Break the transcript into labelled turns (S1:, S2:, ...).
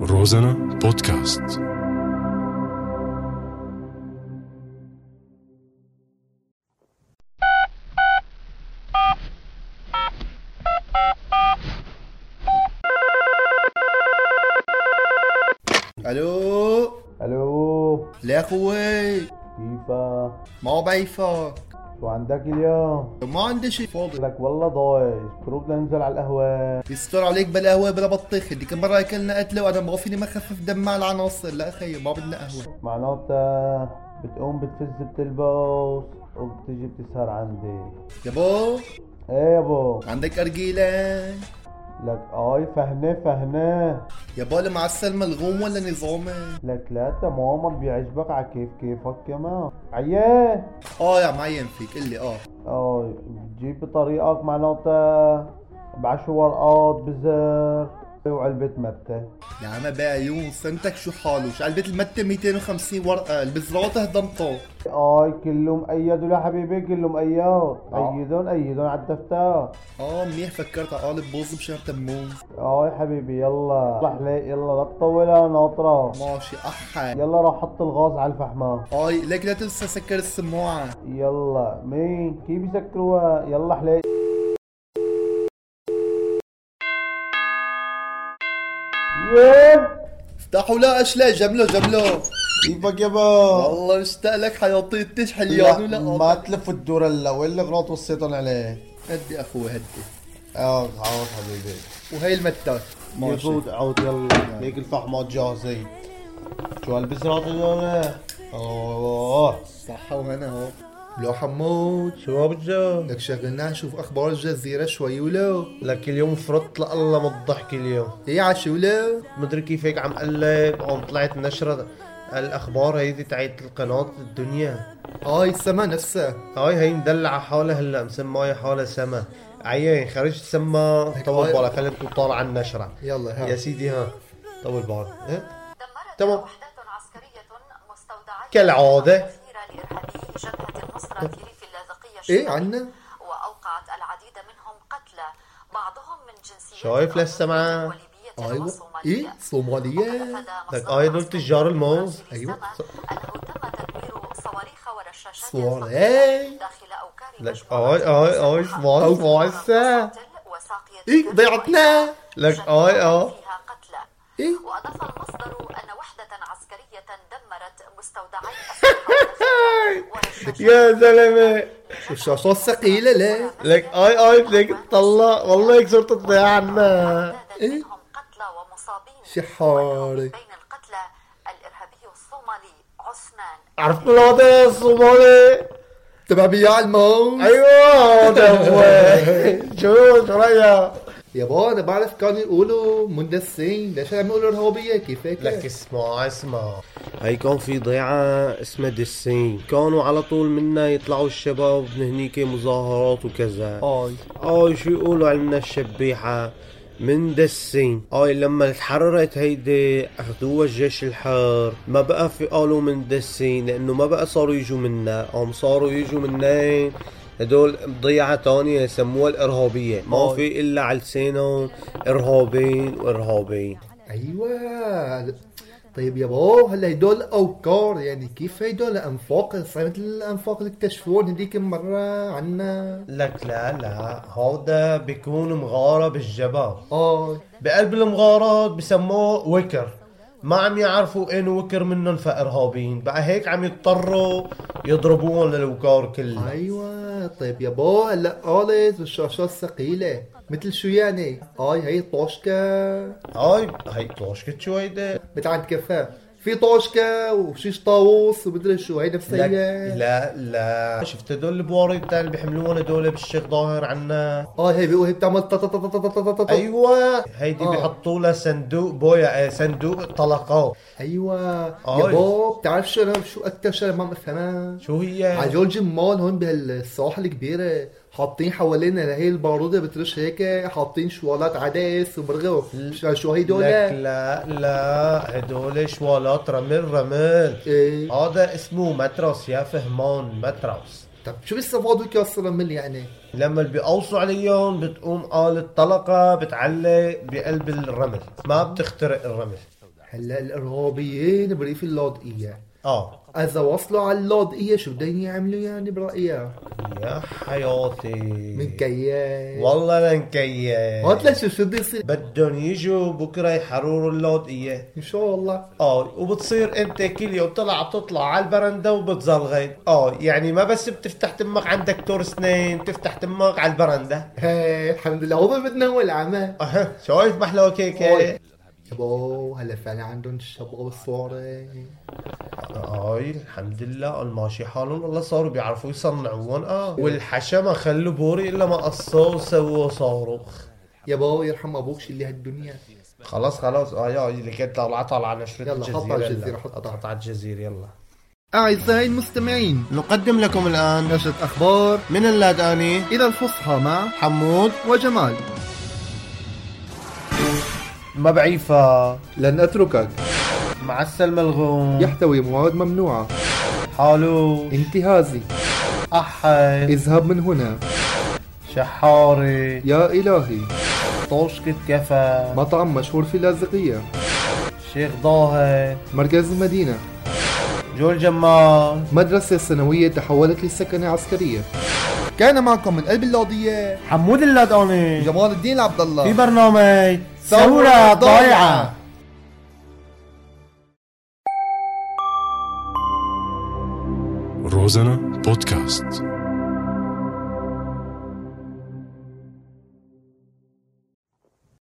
S1: روزانا بودكاست
S2: الو
S3: الو
S2: لا يا اخوي
S3: كيفك؟
S2: ما هو بعيفك
S3: شو عندك اليوم؟
S2: ما عندي شي فاضي
S3: لك والله ضايش بروح بدنا ننزل على القهوة
S2: يستر عليك بلا قهوه بلا بطيخ ديك المره اكلنا قتله وانا ما فيني ما خفف دم على العناصر لا اخي ما بدنا قهوه
S3: معناتها بتقوم بتفز بتلبس وبتجي بتسهر عندي
S2: يا بو
S3: ايه يابا
S2: عندك ارجيله
S3: لك اي فهناه فهناه
S2: يا بو المعسل ملغوم ولا نظامي
S3: لك لا تماما بيعجبك على كيف كيفك كمان عياه
S2: اه يا معين فيك قلي اه
S3: اي بتجيب بطريقك معناتها بعشر ورقات بزر وعلبة متة
S2: يا عم بعيون سنتك شو حاله شو علبة المتة 250 ورقة البزرات هضمطه
S3: اي كله مقيد ولا حبيبي كله مقيد ايدون ايدون على الدفتر
S2: اه منيح فكرت عقالب بوز بشهر تموز
S3: اي حبيبي يلا صح ليه يلا لا تطولها ناطرة
S2: ماشي احا
S3: يلا روح حط الغاز على الفحمة
S2: اي ليك لا تنسى سكر السماعه
S3: يلا مين كيف بيسكروها يلا حليق يب
S2: افتحوا لا اشلا جملو جملو
S3: كيفك يابا
S2: والله مشتاق لك حياطي تشحن اليوم ولا
S3: ما تلف الدور هلا وين الغراض وصيتهم عليه؟
S2: هدي اخوي هدي
S3: اه عوض حبيبي
S2: وهي المتات ماشي
S3: يفوت عود يلا ليك الفحمات جاهزة شو هالبسرات اليوم
S2: آه.
S3: اوه
S2: صحة وهنا اهو لو حمود
S3: شو هالبجو
S2: لك شغلنا نشوف اخبار الجزيرة شوي ولو
S3: لك اليوم فرطت لله من الضحك اليوم
S2: هي عشي ولو
S3: مدري كيف هيك عم قلب قام طلعت نشرة الاخبار هيدي تاعت القناة الدنيا
S2: هاي السما نفسها
S3: هاي هي مدلعة حالها هلا مسماية حالها سما عيان خرجت سما طول
S2: هاي-
S3: بالك خلينا طالعة النشرة
S2: يلا
S3: يا
S2: ها إيه؟
S3: سيدي ها طول بالك ها؟
S4: دمرت
S3: تمام.
S4: وحدات عسكرية مستودعات
S3: كالعادة.
S4: الأخيرة لإرهابي جبهة النصرة في ريف
S3: إيه،
S4: اللاذقية
S2: ايه
S4: الشمالي
S2: عنا
S4: وأوقعت العديد منهم قتلى بعضهم من جنسية
S3: شايف أيوة. للسمعة؟
S4: وليبية
S3: إيه؟
S2: ايوه
S4: وصومالية
S2: ايه صومالية
S4: وقد أفاد
S3: لك
S4: مصدر
S3: آي دول
S4: عسكري
S3: تجار الموز.
S4: في
S2: أيوة.
S4: السما أنه تم تدمير صواريخ ورشاشات
S2: صواريخ.
S4: صغيرة داخل أوكار
S3: لك
S4: مجموعة
S3: اي اي اي
S4: مسلحة.
S3: سمعت سمعت الساعة.
S4: مقاتل وساقية
S3: إيه،
S2: ايه ضيعتنا
S3: لك إيه؟
S4: جنة
S3: اي اه
S4: فيها قتلى
S2: ايه
S4: وأضاف المصدر أن وحدة عسكرية دمرت مستودعي أسلحة
S3: يا زلمة
S2: الشاشات ثقيلة لا
S3: لك اي اي بدك تطلع والله هيك صرت تضيع عنا
S4: إيه؟ منهم قتلى ومصابين
S2: شي حاري.
S4: ومنهم بين القتلى الإرهابي الصومالي عثمان
S3: عرفت الوضع الصومالي
S2: تبع بياع الموز
S3: ايوه هذا هو شو شو رايك
S2: يابا انا بعرف كانوا يقولوا مندسين ليش عم يقولوا ارهابية كيفك
S5: لك اسمع اسمع هي كان في ضيعة اسمها دسين كانوا على طول منا يطلعوا الشباب من هنيك مظاهرات وكذا
S2: اي
S5: اي شو يقولوا عنا الشبيحة من دسين اي لما تحررت هيدي اخذوها الجيش الحار ما بقى في قالوا من دسين لانه ما بقى صاروا يجوا منا هم صاروا يجوا منين هدول ضيعة تانية يسموها الإرهابية ما
S3: أي.
S5: في إلا على لسانهم إرهابين وإرهابين
S2: ايوه طيب يا بو هلا هدول اوكار يعني كيف هدول انفاق صار مثل الانفاق اللي اكتشفوهم هذيك المره عنا
S5: لك لا لا هودا بيكون مغارة بالجبل
S2: اه
S5: بقلب المغارات بسموه وكر ما عم يعرفوا انه وكر منهم فارهابيين بقى هيك عم يضطروا يضربوهم للوكار كله
S2: ايوه طيب يا بو هلا قالت والشاشات ثقيله مثل شو يعني اي هي طوشكه
S5: هاي هاي طوشكت شو هيدا
S2: بتاعت كفاه في طوشكه وشيش طاووس ومدري شو هي
S5: لك
S2: نفسيه
S5: لا لا شفت هدول البواريت اللي بيحملوهم هدول بالشيخ ظاهر عنا
S2: اه هي بيقول هي بتعمل تا- تا- تا- تا- تا- تا- تا- تا- تا.
S5: ايوه هيدي
S2: آه.
S5: بيحطوا لها صندوق بويا آه، صندوق طلقات
S2: ايوه يا
S5: آي.
S2: بو بتعرف شو انا شو اكتر شغله ما بفهمها
S5: شو هي
S2: على جورج مول هون بهالسواحل الكبيرة حاطين حوالينا هي البارودة بترش هيك حاطين شوالات عدس وبرغة شو- شو هي دول
S5: لك لا لا هدول شوالات رمل رمل
S2: إيه.
S5: هذا اسمه مترس يا فهمان مترس
S2: طب شو بيستفادوا كاسر من يعني
S5: لما اللي بيقوصوا عليهم بتقوم آلة طلقة بتعلق بقلب الرمل ما بتخترق الرمل
S2: هلا الارهابيين بريف اللاذقيه
S5: اه
S2: اذا وصلوا على اللاذقيه شو بدهم يعملوا يعني برايك؟
S5: يا حياتي
S2: من كيان
S5: والله لنكية
S2: هات لشوف شو بده يصير
S5: بدهم يجوا بكره يحرروا اللوطية
S2: ان شاء الله
S5: اه وبتصير انت كل يوم طلع بتطلع على البرندة وبتظل غير اه يعني ما بس بتفتح تمك عند دكتور اسنان بتفتح تمك على البرندة
S2: هاي الحمد لله والله بدنا هو العمى
S5: اه شايف محلى كيكة
S2: أوي. يابو هلا فعلا عندهم الشباب الصورة
S5: اي الحمد لله الماشي حالهم والله صاروا بيعرفوا يصنعون اه والحشا ما خلوا بوري الا ما قصوه وسووا صاروخ
S2: يابو يرحم ابوك شو اللي هالدنيا
S5: خلاص خلاص اه يا اللي كانت طالعه طالعه نشرة
S2: يلا،
S5: الجزيرة
S2: حط على الجزيرة،
S5: يلا.
S2: حط على-
S5: حط على الجزيرة يلا
S2: اعزائي المستمعين
S5: نقدم لكم الان
S2: نشرة اخبار
S5: من اللاداني
S2: الى الفصحى مع
S5: حمود
S2: وجمال
S5: مبعيفة
S2: لن اتركك
S5: معسل ملغوم
S2: يحتوي مواد ممنوعة
S5: حالو
S2: انتهازي
S5: أحد
S2: اذهب من هنا
S5: شحاري
S2: يا الهي
S5: طوشكة كفا
S2: مطعم مشهور في اللاذقية
S5: شيخ ضاهر
S2: مركز المدينة
S5: جول جمال
S2: مدرسة ثانوية تحولت لسكنة عسكرية كان معكم من قلب اللاضية
S5: حمود اللاداني
S2: جمال الدين عبد الله
S5: في برنامج ثورة ضايعة
S1: Розана подкаст.